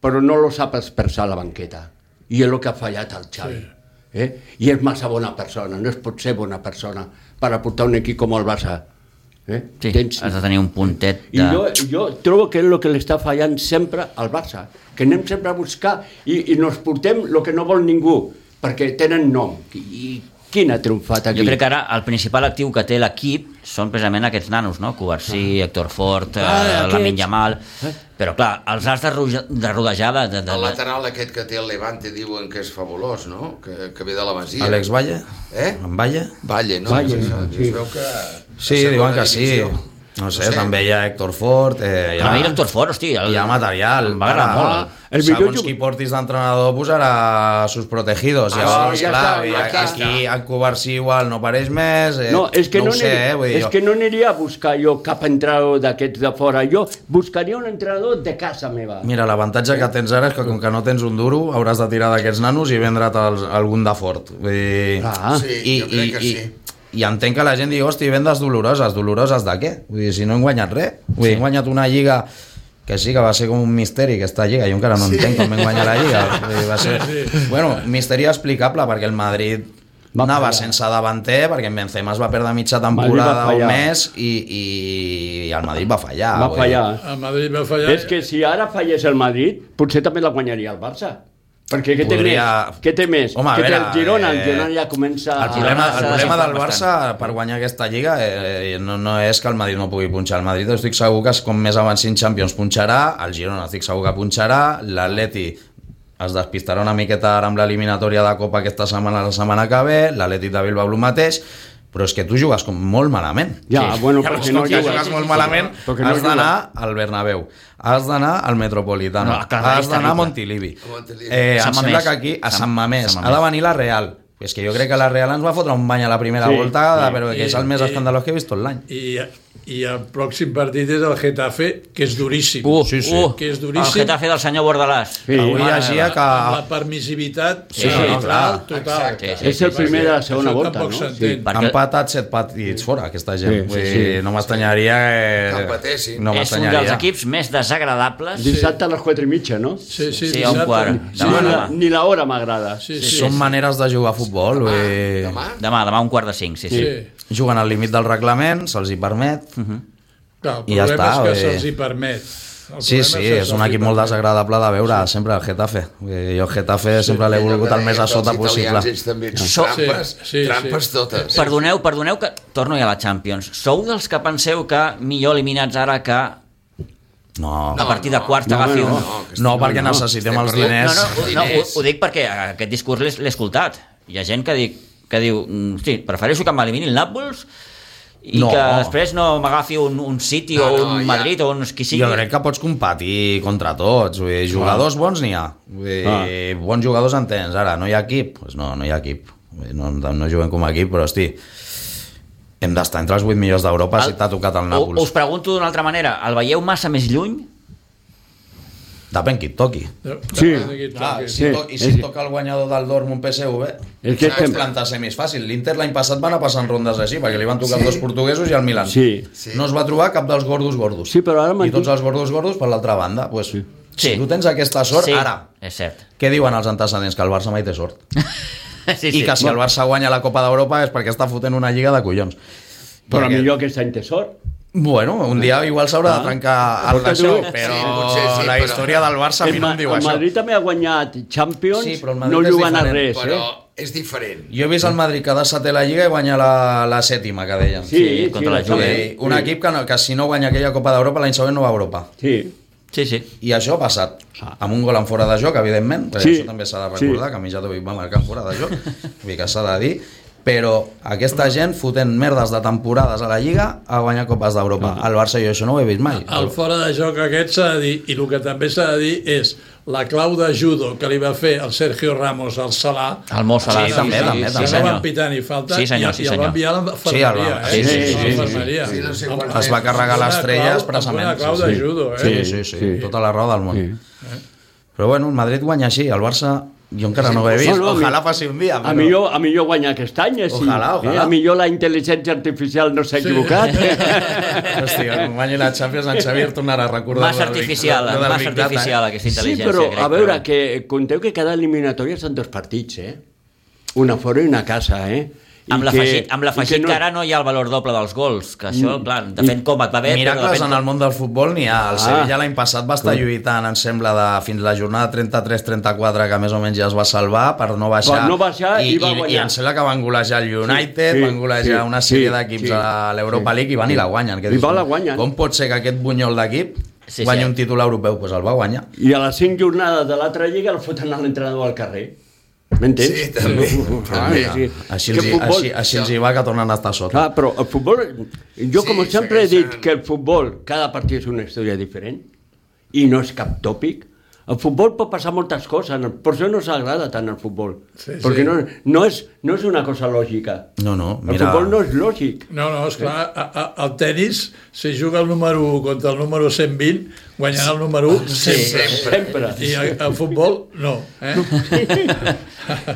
Speaker 4: però no lo sap expressar a la banqueta. I és el que ha fallat al Xavi. Eh? I és massa bona persona, no es pot ser bona persona per aportar un equip com el Barça. Eh?
Speaker 1: sí.
Speaker 4: Tens-
Speaker 1: Has de tenir un puntet
Speaker 4: i
Speaker 1: de...
Speaker 4: jo, jo trobo que és el que li està fallant sempre al Barça, que anem sempre a buscar i, i nos portem el que no vol ningú, perquè tenen nom. I, i quin ha triomfat aquí?
Speaker 1: Jo crec que ara el principal actiu que té l'equip són precisament aquests nanos, no? Covarsí, Héctor Fort, ah,
Speaker 4: Ah,
Speaker 1: la
Speaker 4: aquests.
Speaker 1: Minyamal... Però clar, els has de, roge- de rodejar de... de, de,
Speaker 3: eh.
Speaker 1: de...
Speaker 2: El lateral aquest que té el Levante diuen que és fabulós, no? Que, que ve de la Masia.
Speaker 3: Àlex Valle?
Speaker 2: Eh?
Speaker 3: En Valle?
Speaker 2: Valle, no?
Speaker 4: Valle,
Speaker 2: Sí,
Speaker 4: sí.
Speaker 2: Es veu que...
Speaker 3: Sí,
Speaker 2: la
Speaker 3: diuen
Speaker 2: segona
Speaker 3: que sí.
Speaker 2: divisió.
Speaker 3: No sé, també hi ha Héctor Fort, eh, hi
Speaker 1: A
Speaker 3: ha,
Speaker 1: mi l'Héctor Fort, hòstia... El...
Speaker 3: hi ha material.
Speaker 1: Em va agradar
Speaker 3: Ara,
Speaker 1: molt.
Speaker 4: El millor
Speaker 3: segons
Speaker 4: jug-
Speaker 3: qui portis d'entrenador posarà sus protegidos.
Speaker 4: Ah,
Speaker 3: Llavors,
Speaker 4: sí, ja
Speaker 3: clar,
Speaker 4: està,
Speaker 3: i
Speaker 4: ja està.
Speaker 3: aquí en Covarsí igual no pareix més. Eh,
Speaker 4: No, és que no,
Speaker 3: ho sé,
Speaker 4: aniria,
Speaker 3: eh, vull dir,
Speaker 4: és
Speaker 3: jo-
Speaker 4: que no aniria a buscar jo cap entrenador d'aquests de fora. Jo buscaria un entrenador de casa meva.
Speaker 3: Mira, l'avantatge que tens ara és que com que no tens un duro, hauràs de tirar d'aquests nanos i vendre't els, algun de fort. Vull dir...
Speaker 4: Clar.
Speaker 2: Sí, jo crec que
Speaker 3: i,
Speaker 2: sí.
Speaker 3: I entenc que la gent digui, hòstia, vendes doloroses, doloroses de què? Vull dir, si no hem guanyat res. Vull dir, hem guanyat una lliga que sí, que va ser com un misteri aquesta lliga, jo encara no sí. entenc com hem guanyat la lliga. Vull dir, va ser...
Speaker 5: Sí, sí.
Speaker 3: Bueno, misteri explicable, perquè el Madrid
Speaker 4: Va
Speaker 3: va anava
Speaker 4: fallar.
Speaker 3: sense davanter, perquè en Benzema es va perdre mitja
Speaker 4: va
Speaker 3: temporada o
Speaker 4: fallar.
Speaker 3: més i, i, i el Madrid va fallar.
Speaker 4: Va
Speaker 3: vull dir.
Speaker 4: fallar.
Speaker 5: A Madrid va fallar...
Speaker 4: És que si ara fallés el Madrid, potser també la guanyaria el Barça. Perquè què té
Speaker 3: Podria-
Speaker 4: més? Què té més?
Speaker 3: Home, a
Speaker 4: què té el
Speaker 3: veure,
Speaker 4: Girona? El
Speaker 3: eh,
Speaker 4: Girona ja comença...
Speaker 3: El problema,
Speaker 1: Girona
Speaker 3: el
Speaker 1: s'ha
Speaker 3: problema del
Speaker 1: desinformat
Speaker 3: Barça per guanyar aquesta lliga eh, eh, no, no és que el Madrid no pugui punxar. El Madrid estic segur que com més avancin Champions punxarà, el Girona estic segur que punxarà, l'Atleti es despistarà una miqueta ara amb l'eliminatòria de Copa aquesta setmana la setmana que ve, l'Atleti de Bilbao el mateix, però és que tu jugues com molt malament.
Speaker 4: Ja, bueno,
Speaker 3: Llavors,
Speaker 4: perquè
Speaker 3: com
Speaker 4: no
Speaker 3: que
Speaker 4: juga.
Speaker 3: jugues molt malament,
Speaker 4: Perquè no
Speaker 3: has
Speaker 4: juga.
Speaker 3: d'anar al Bernabéu, has d'anar al Metropolitano,
Speaker 1: No, a Calderón
Speaker 3: has d'anar a
Speaker 1: terrible.
Speaker 3: Montilivi.
Speaker 2: A Montilivi.
Speaker 3: Eh,
Speaker 1: Sant
Speaker 3: em sembla
Speaker 1: Mamés.
Speaker 3: que aquí, a
Speaker 1: Sant-
Speaker 3: Sant Mamés,
Speaker 1: Sant
Speaker 3: ha de venir la Real. És que jo crec que la Real ens va fotre un bany a la primera
Speaker 4: Sí,
Speaker 3: sí, volta,
Speaker 4: sí.
Speaker 3: sí, però que és el més
Speaker 5: I- i-
Speaker 3: escandalós que he vist tot l'any.
Speaker 5: I, I el pròxim partit és el Getafe, que és duríssim.
Speaker 1: Uh,
Speaker 3: Sí, sí.
Speaker 1: Uh,
Speaker 5: Que és duríssim.
Speaker 1: El Getafe del senyor Bordalàs.
Speaker 4: Sí,
Speaker 3: Avui
Speaker 5: Mare
Speaker 3: llegia
Speaker 5: meva,
Speaker 3: que...
Speaker 5: Ah, amb La permissivitat
Speaker 1: Sí,
Speaker 5: arbitral
Speaker 1: sí, clar.
Speaker 5: total.
Speaker 2: Exacte.
Speaker 1: Sí, sí,
Speaker 4: És el primer de la segona
Speaker 5: Això
Speaker 4: volta,
Speaker 5: tampoc
Speaker 4: no?
Speaker 5: s'entén.
Speaker 1: perquè-
Speaker 3: Han patat set partits fora, aquesta gent.
Speaker 4: Sí,
Speaker 3: Sí,
Speaker 4: sí,
Speaker 3: Vull dir,
Speaker 4: sí.
Speaker 3: no m'estanyaria... Que,
Speaker 2: Que
Speaker 1: és
Speaker 2: empatessin.
Speaker 3: No
Speaker 1: un dels
Speaker 3: m'estanyaria.
Speaker 1: equips més desagradables.
Speaker 4: Dissabte a les 4 i mitja, no?
Speaker 5: Sí, sí,
Speaker 1: Sí, a un
Speaker 5: dissabte.
Speaker 1: quart.
Speaker 5: Sí,
Speaker 4: Demà,
Speaker 1: Demà,
Speaker 4: ni, la,
Speaker 1: demà.
Speaker 4: ni la hora m'agrada.
Speaker 5: Sí, sí,
Speaker 3: Són maneres de jugar a futbol.
Speaker 2: Demà,
Speaker 3: vull dir,
Speaker 2: Ah, demà?
Speaker 1: Demà, demà un quart de cinc, sí, sí.
Speaker 5: sí.
Speaker 3: Juguen al límit del reglament, se'ls hi permet.
Speaker 5: Clar, el
Speaker 3: I ja
Speaker 5: problema ja està,
Speaker 3: està,
Speaker 5: és que
Speaker 3: bé.
Speaker 5: se'ls hi permet. El
Speaker 3: Sí,
Speaker 5: problema
Speaker 3: sí,
Speaker 5: que
Speaker 3: és un
Speaker 5: se'ls hi
Speaker 3: equip molt
Speaker 5: permet.
Speaker 3: desagradable de veure, sempre el Getafe. Vull dir, Jo el Getafe sempre l'he
Speaker 2: Allò que
Speaker 3: volgut el més
Speaker 2: deia
Speaker 3: a
Speaker 2: que
Speaker 3: sota
Speaker 2: els
Speaker 3: possible.
Speaker 2: italians, Ells també,
Speaker 1: Sou-
Speaker 2: trampes,
Speaker 5: Sí, sí,
Speaker 2: trampes
Speaker 5: sí.
Speaker 2: totes.
Speaker 1: Perdoneu, perdoneu que torno ja a la Champions. Sou dels que penseu que millor eliminats ara que
Speaker 3: No,
Speaker 1: a partir de quarts
Speaker 4: No,
Speaker 1: t'agafi
Speaker 4: no,
Speaker 1: un...
Speaker 2: no, que
Speaker 3: no
Speaker 2: estem-
Speaker 3: perquè necessitem
Speaker 2: estem
Speaker 3: els
Speaker 2: parlant-
Speaker 1: No,
Speaker 3: diners.
Speaker 1: no, ho, no, ho,
Speaker 2: Diners.
Speaker 1: ho dic perquè aquest discurs l'he l'he escoltat. Hi ha gent que, dic, que diu, "Mm, hosti, prefereixo que m'eliminin l'Àpols i
Speaker 3: No.
Speaker 1: que després no m'agafi un, un City
Speaker 2: No,
Speaker 1: no, o
Speaker 2: no,
Speaker 1: un
Speaker 2: ja.
Speaker 1: Madrid o uns qui sigui.
Speaker 3: Jo crec que pots competir contra tots. Vull dir, jugadors bons n'hi ha. Vull dir,
Speaker 4: Ah.
Speaker 3: Bons jugadors en tens. Ara, no hi ha equip? Pues no, no hi ha equip. Vull dir, No, no juguem com a equip, però hosti, hem d'estar entre els 8 millors d'Europa si
Speaker 1: El-
Speaker 3: t'ha tocat el
Speaker 1: O, us
Speaker 3: Nàpols.
Speaker 1: pregunto d'una altra manera, el veieu massa més lluny?
Speaker 3: Depèn qui et toqui.
Speaker 4: Sí.
Speaker 5: Depèn de qui et toqui.
Speaker 4: sí.
Speaker 3: I si et toca el guanyador del Dortmund PSV,
Speaker 4: És que
Speaker 3: es
Speaker 4: estem...
Speaker 3: planta ser més fàcil. L'Inter l'any passat van a passar en rondes així, perquè li van tocar sí. els dos portuguesos i el Milan.
Speaker 4: Sí.
Speaker 2: Sí.
Speaker 3: No es va trobar cap dels gordos gordos.
Speaker 4: Sí, però ara m'han
Speaker 3: I tots
Speaker 4: dit-
Speaker 3: els gordos gordos per l'altra banda. Pues, sí.
Speaker 1: Sí.
Speaker 3: Si tu tens aquesta sort,
Speaker 1: sí,
Speaker 3: sí. ara,
Speaker 1: és cert.
Speaker 3: què diuen els antecedents? Que el Barça mai té sort.
Speaker 1: Sí,
Speaker 3: I que si el Barça guanya la Copa d'Europa és perquè està fotent una lliga de collons.
Speaker 4: Però
Speaker 3: Perquè-
Speaker 4: millor Ah. aquest any té sort.
Speaker 3: Bueno, un dia igual s'haurà de trencar el
Speaker 4: Porta
Speaker 3: d'això,
Speaker 4: tu.
Speaker 3: però
Speaker 2: Sí, potser sí,
Speaker 3: la
Speaker 2: però-
Speaker 3: història del Barça a mi
Speaker 4: El
Speaker 3: no
Speaker 4: Ma-
Speaker 3: em diu
Speaker 4: el
Speaker 3: això.
Speaker 4: Madrid també ha guanyat Champions,
Speaker 3: Sí, però el Madrid
Speaker 4: no
Speaker 3: és
Speaker 4: jugant a
Speaker 3: diferent,
Speaker 4: res,
Speaker 2: Però
Speaker 4: eh?
Speaker 2: és diferent.
Speaker 3: Jo he vist el Madrid quedar setè a la Lliga i guanyar la, la sèptima, que deien.
Speaker 4: Sí, sí,
Speaker 1: contra la
Speaker 4: sí,
Speaker 1: Juve.
Speaker 3: Sí, un equip que, no, que si no guanya aquella Copa d'Europa l'any següent no va a Europa.
Speaker 4: Sí,
Speaker 1: Sí, sí.
Speaker 3: I això ha passat amb un gol en fora de joc, evidentment, perquè
Speaker 4: Ah. Sí,
Speaker 3: això també s'ha de
Speaker 4: sí.
Speaker 3: recordar, que a mi ja t'ho va marcar en fora de joc, vull dir que s'ha de dir, però aquesta gent fotent merdes de temporades a la Lliga a guanyar Copes d'Europa.
Speaker 4: Ah.
Speaker 3: Al Barça jo això no ho he vist mai.
Speaker 5: El fora de joc aquest s'ha de dir, i el que també s'ha de dir és la clau de judo que li va fer el Sergio Ramos al Salà.
Speaker 1: Al Mo Salah,
Speaker 3: Sí, també, també,
Speaker 5: que
Speaker 3: també.
Speaker 5: No
Speaker 1: senyor.
Speaker 5: van pitar ni falta
Speaker 1: Sí, senyor,
Speaker 5: i,
Speaker 1: sí,
Speaker 5: i el
Speaker 1: senyor.
Speaker 5: va enviar a
Speaker 3: Sí, el
Speaker 5: l'enfermeria.
Speaker 3: va-
Speaker 5: eh?
Speaker 3: sí, sí,
Speaker 4: sí,
Speaker 5: A
Speaker 4: sí, sí.
Speaker 5: l'enfermeria.
Speaker 2: Sí, no sé
Speaker 5: Amb-
Speaker 2: quant-
Speaker 3: Es va carregar
Speaker 5: amb una
Speaker 3: les estrelles
Speaker 5: clau-
Speaker 3: precisament.
Speaker 5: Amb una clau de judo, eh?
Speaker 3: Sí, sí, sí,
Speaker 4: Sí.
Speaker 3: tota la raó del món. Eh? Però bueno, el Madrid guanya així, el Barça jo encara no ho he vist.
Speaker 4: No, no, a mi-
Speaker 3: Ojalà faci un dia.
Speaker 4: A millor, a millor guanyar aquest any, eh, sí.
Speaker 3: Ojalà, ojalà.
Speaker 4: Eh, a millor la intel·ligència artificial no s'ha equivocat.
Speaker 3: Hòstia, quan guanyi la Champions en Xavier tornarà a recordar... eh?
Speaker 1: Massa artificial, massa artificial aquesta
Speaker 4: Sí,
Speaker 1: intel·ligència.
Speaker 4: però
Speaker 1: crec,
Speaker 4: a veure, que conteu que cada eliminatòria són dos partits, eh? Una fora i una a casa, eh? I
Speaker 1: Amb
Speaker 4: que-
Speaker 1: l'afegit que, amb
Speaker 4: i
Speaker 1: l'afegit que, no... que ara no hi ha el valor doble dels gols, que això, mm. clar, depèn com et va bé... però
Speaker 3: Miracles
Speaker 1: depèn...
Speaker 3: en el món del futbol n'hi ha.
Speaker 4: Ah.
Speaker 3: El Sevilla l'any passat va estar lluitant, em sembla, de, fins la jornada 33-34, que més o menys ja es va salvar per no baixar.
Speaker 4: Per no baixar i va
Speaker 3: I,
Speaker 4: guanyar.
Speaker 3: em sembla que van golejar el United,
Speaker 4: Sí, sí,
Speaker 3: van golejar
Speaker 4: sí,
Speaker 3: una sèrie
Speaker 4: sí,
Speaker 3: d'equips
Speaker 4: sí,
Speaker 3: a l'Europa
Speaker 4: sí,
Speaker 3: League i
Speaker 4: sí.
Speaker 3: van i la guanyen.
Speaker 4: I
Speaker 3: Que dius,
Speaker 4: va, la guanyen.
Speaker 3: Com pot ser que aquest bunyol d'equip
Speaker 1: Sí,
Speaker 3: guanyi
Speaker 1: sí.
Speaker 3: un títol europeu? Doncs pues el va guanyar.
Speaker 4: I a les cinc jornades de l'altra lliga el foten a l'entrenador al carrer. M'entens?
Speaker 2: Sí, també,
Speaker 4: Ah,
Speaker 2: també.
Speaker 3: Ah, Així els,
Speaker 4: Que
Speaker 3: hi,
Speaker 4: futbol-
Speaker 3: així, així els hi va que tornen a estar sota.
Speaker 4: Clar, però el futbol... Jo,
Speaker 2: Sí,
Speaker 4: com sempre, he
Speaker 2: segueixen.
Speaker 4: dit que el futbol, cada partit és una història diferent i no és cap tòpic. El futbol pot passar moltes coses, per això no s'agrada tant el futbol.
Speaker 5: Sí, sí.
Speaker 4: perquè No, no, és, no és una cosa lògica.
Speaker 3: No, no,
Speaker 4: El
Speaker 3: mira-
Speaker 4: futbol no és lògic.
Speaker 5: No, no, esclar, a, a, el tennis, si juga el número 1 contra el número 120, guanyarà el número 1 sempre.
Speaker 4: Sempre.
Speaker 5: I eh, el, el futbol, no. Eh?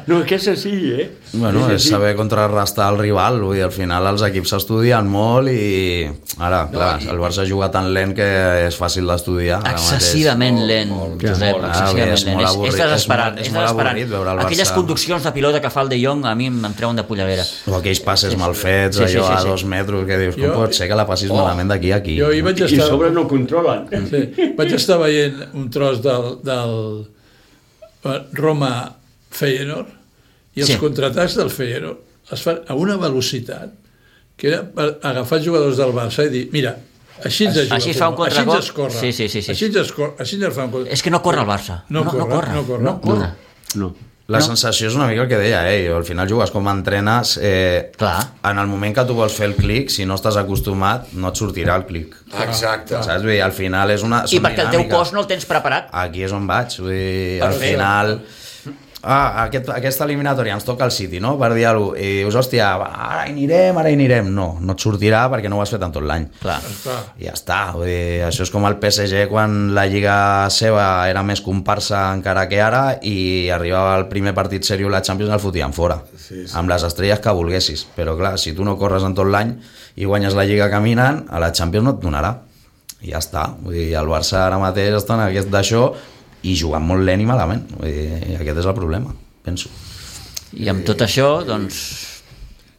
Speaker 4: No, és que és així, eh?
Speaker 3: Bueno,
Speaker 4: és
Speaker 3: és saber contrarrestar el rival, vull dir, al final els equips s'estudien molt i ara, clar, el Barça juga tan lent que és fàcil d'estudiar. ara mateix.
Speaker 1: Excessivament lent, Josep,
Speaker 3: molt,
Speaker 1: excessivament
Speaker 3: és
Speaker 1: lent.
Speaker 3: molt
Speaker 1: És,
Speaker 3: avorrit,
Speaker 1: és
Speaker 3: és molt-
Speaker 1: desesperant,
Speaker 3: és
Speaker 1: és,
Speaker 3: molt
Speaker 1: desesperant.
Speaker 3: avorrit veure el Barça.
Speaker 1: Aquelles conduccions de pilota que fa el De Jong a mi em, em treuen de polleguera.
Speaker 3: O aquells passes mal fets,
Speaker 1: Sí, sí,
Speaker 3: allò
Speaker 1: sí,
Speaker 3: a
Speaker 1: sí. Oh,
Speaker 3: dos metres, que dius, com
Speaker 5: Jo-
Speaker 3: pot ser que la passis malament d'aquí a aquí?
Speaker 5: Jo hi vaig
Speaker 4: I a
Speaker 5: estar...
Speaker 4: sobre no controlen.
Speaker 5: Sí. Vaig estar veient un tros del, del eh, Roma Feyenoord i els
Speaker 1: Sí.
Speaker 5: sí. contratats del Feyenoord es fan a una velocitat que era per agafar jugadors del Barça i dir, mira, així ens ajuda.
Speaker 1: Així es fa un
Speaker 5: futbol,
Speaker 1: contragol.
Speaker 5: Així ens corre.
Speaker 1: Sí, sí, sí, sí.
Speaker 5: Així ens, es corre, així ens fa un contra...
Speaker 1: És que no corre el Barça.
Speaker 5: No
Speaker 1: no
Speaker 5: corre,
Speaker 1: corre.
Speaker 5: no corre.
Speaker 1: No corre.
Speaker 4: No.
Speaker 3: La sensació és una mica el que deia ell, al final jugues com entrenes, eh,
Speaker 1: Clar.
Speaker 3: en el moment que tu vols fer el clic, si no estàs acostumat, no et sortirà el clic.
Speaker 2: Exacte.
Speaker 3: Saps? Vull dir, al final és una... Ah.
Speaker 1: I perquè el teu cos no el tens preparat.
Speaker 3: aquí és on vaig. Vull dir, al
Speaker 1: Perfecte.
Speaker 3: final ah, aquest, aquesta eliminatòria ens toca el City, no? Per dir alguna cosa. I dius, hòstia, va, ara hi anirem, ara hi anirem. No, no et sortirà perquè no ho has fet en tot l'any. Clar.
Speaker 5: Està.
Speaker 3: I ja està. Vull dir, això és com el PSG quan la lliga seva era més comparsa encara que ara i arribava el primer partit seriós la Champions el fotien fora. Sí, sí. Amb les estrelles que volguessis. Però clar, si tu no corres en tot l'any i guanyes la lliga caminant, a la Champions no et donarà i ja està. Vull dir, el Barça ara mateix està en aquest d'això i jugant molt lent i malament. Vull dir, aquest és el problema, penso.
Speaker 1: I amb tot això, doncs,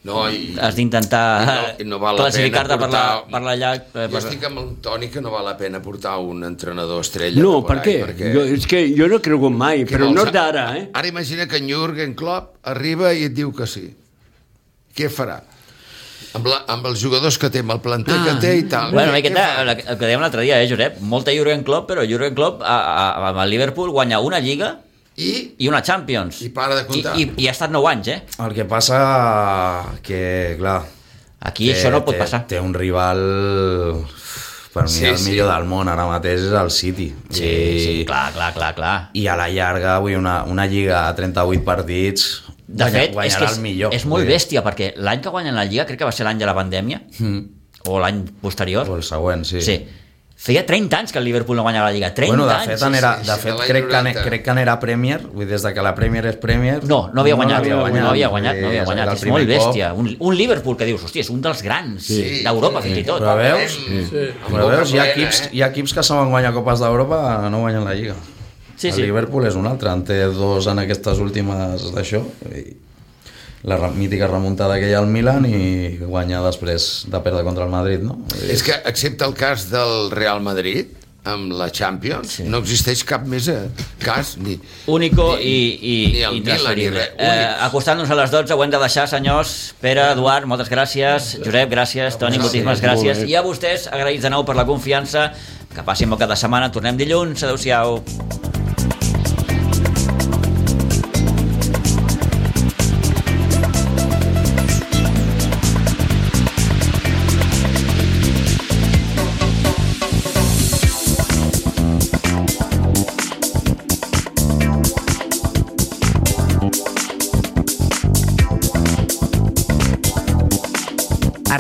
Speaker 2: No, i,
Speaker 1: has d'intentar
Speaker 2: I no- i no val la
Speaker 1: classificar-te
Speaker 2: pena
Speaker 1: per la,
Speaker 2: portar-
Speaker 1: per la llarg... eh,
Speaker 2: jo
Speaker 1: Per...
Speaker 2: estic amb el Toni que no val la pena portar un entrenador estrella.
Speaker 4: No,
Speaker 2: por
Speaker 4: per
Speaker 2: ahí,
Speaker 4: què? Jo, és que jo no he cregut mai,
Speaker 2: Què
Speaker 4: però
Speaker 2: vols?
Speaker 4: no és d'ara, eh?
Speaker 2: Ara imagina que en Jürgen Klopp arriba i et diu que sí. Què farà? Amb, la, amb els jugadors que té, amb el planter ah, que té i tal.
Speaker 1: Bueno,
Speaker 2: Què-
Speaker 1: una miqueta,
Speaker 2: què fa?
Speaker 1: la- el que dèiem l'altre dia, eh, Josep? Molta Jurgen Klopp, però Jurgen Klopp a, a, amb el Liverpool guanya una Lliga
Speaker 2: I,
Speaker 1: i una Champions.
Speaker 2: I para de comptar.
Speaker 1: I, i, i ha estat 9 anys, eh?
Speaker 3: El que passa que, clar...
Speaker 1: Aquí això no pot
Speaker 3: té,
Speaker 1: passar.
Speaker 3: Té un rival per mi
Speaker 2: Sí,
Speaker 3: sí, el
Speaker 2: sí.
Speaker 3: millor del món ara mateix és el City.
Speaker 1: Sí,
Speaker 3: I,
Speaker 1: sí, clar, clar, clar, clar.
Speaker 3: I a la llarga, vull dir, una, una lliga a 38 partits
Speaker 1: De
Speaker 3: guanya-
Speaker 1: fet, és, que
Speaker 3: guanyarà
Speaker 1: és,
Speaker 3: el millor.
Speaker 1: és molt
Speaker 3: vull dir.
Speaker 1: bèstia, perquè l'any que guanyen la Lliga, crec que va ser l'any de la pandèmia, o l'any posterior,
Speaker 3: O el següent, Mm. sí.
Speaker 1: sí. Feia 30 anys que el Liverpool no guanyava la Lliga, 30
Speaker 3: bueno, de
Speaker 1: anys.
Speaker 3: fet, anera,
Speaker 2: sí, sí,
Speaker 3: de
Speaker 2: sí, de
Speaker 3: fet
Speaker 2: l'any
Speaker 3: crec, que,
Speaker 2: 90.
Speaker 3: ane- crec que anera Premier, vull dir, des de que la Premier és Premier...
Speaker 1: No, no havia guanyat, no
Speaker 3: l'havia
Speaker 1: havia guanyat, no havia guanyat, no
Speaker 3: vull
Speaker 1: havia
Speaker 3: dir,
Speaker 1: guanyat.
Speaker 3: el
Speaker 1: és
Speaker 3: primer
Speaker 1: molt
Speaker 3: cop.
Speaker 1: bèstia. Un, un Liverpool que dius, hòstia, és un dels grans
Speaker 2: Sí.
Speaker 1: d'Europa,
Speaker 2: Sí.
Speaker 1: fins i tot.
Speaker 3: Però veus,
Speaker 5: Sí.
Speaker 2: Amb
Speaker 3: però
Speaker 2: boca
Speaker 3: veus hi, ha
Speaker 2: plena,
Speaker 3: equips,
Speaker 2: eh?
Speaker 3: hi ha equips que saben guanyar Copes d'Europa no guanyen la Lliga.
Speaker 1: Sí, sí.
Speaker 3: El Liverpool és un altre, en té dos en aquestes últimes d'això. i La re- mítica remuntada que hi ha al Milan i guanyar després de perdre contra el Madrid, no?
Speaker 2: És que, excepte el cas del Real Madrid, amb la Champions, sí. no existeix cap més eh, cas ni...
Speaker 1: Único i, i,
Speaker 2: ni el
Speaker 1: i
Speaker 2: Milan, ni
Speaker 1: transferible.
Speaker 2: res.
Speaker 1: Eh, Acostant-nos a les 12, ho hem de deixar, senyors. Pere, Eduard, moltes gràcies. Josep, gràcies. Toni, moltíssimes gràcies. I a vostès, agraïts de nou per la confiança. Que passin bon cap de setmana. Tornem dilluns. Adéu-siau.
Speaker 6: A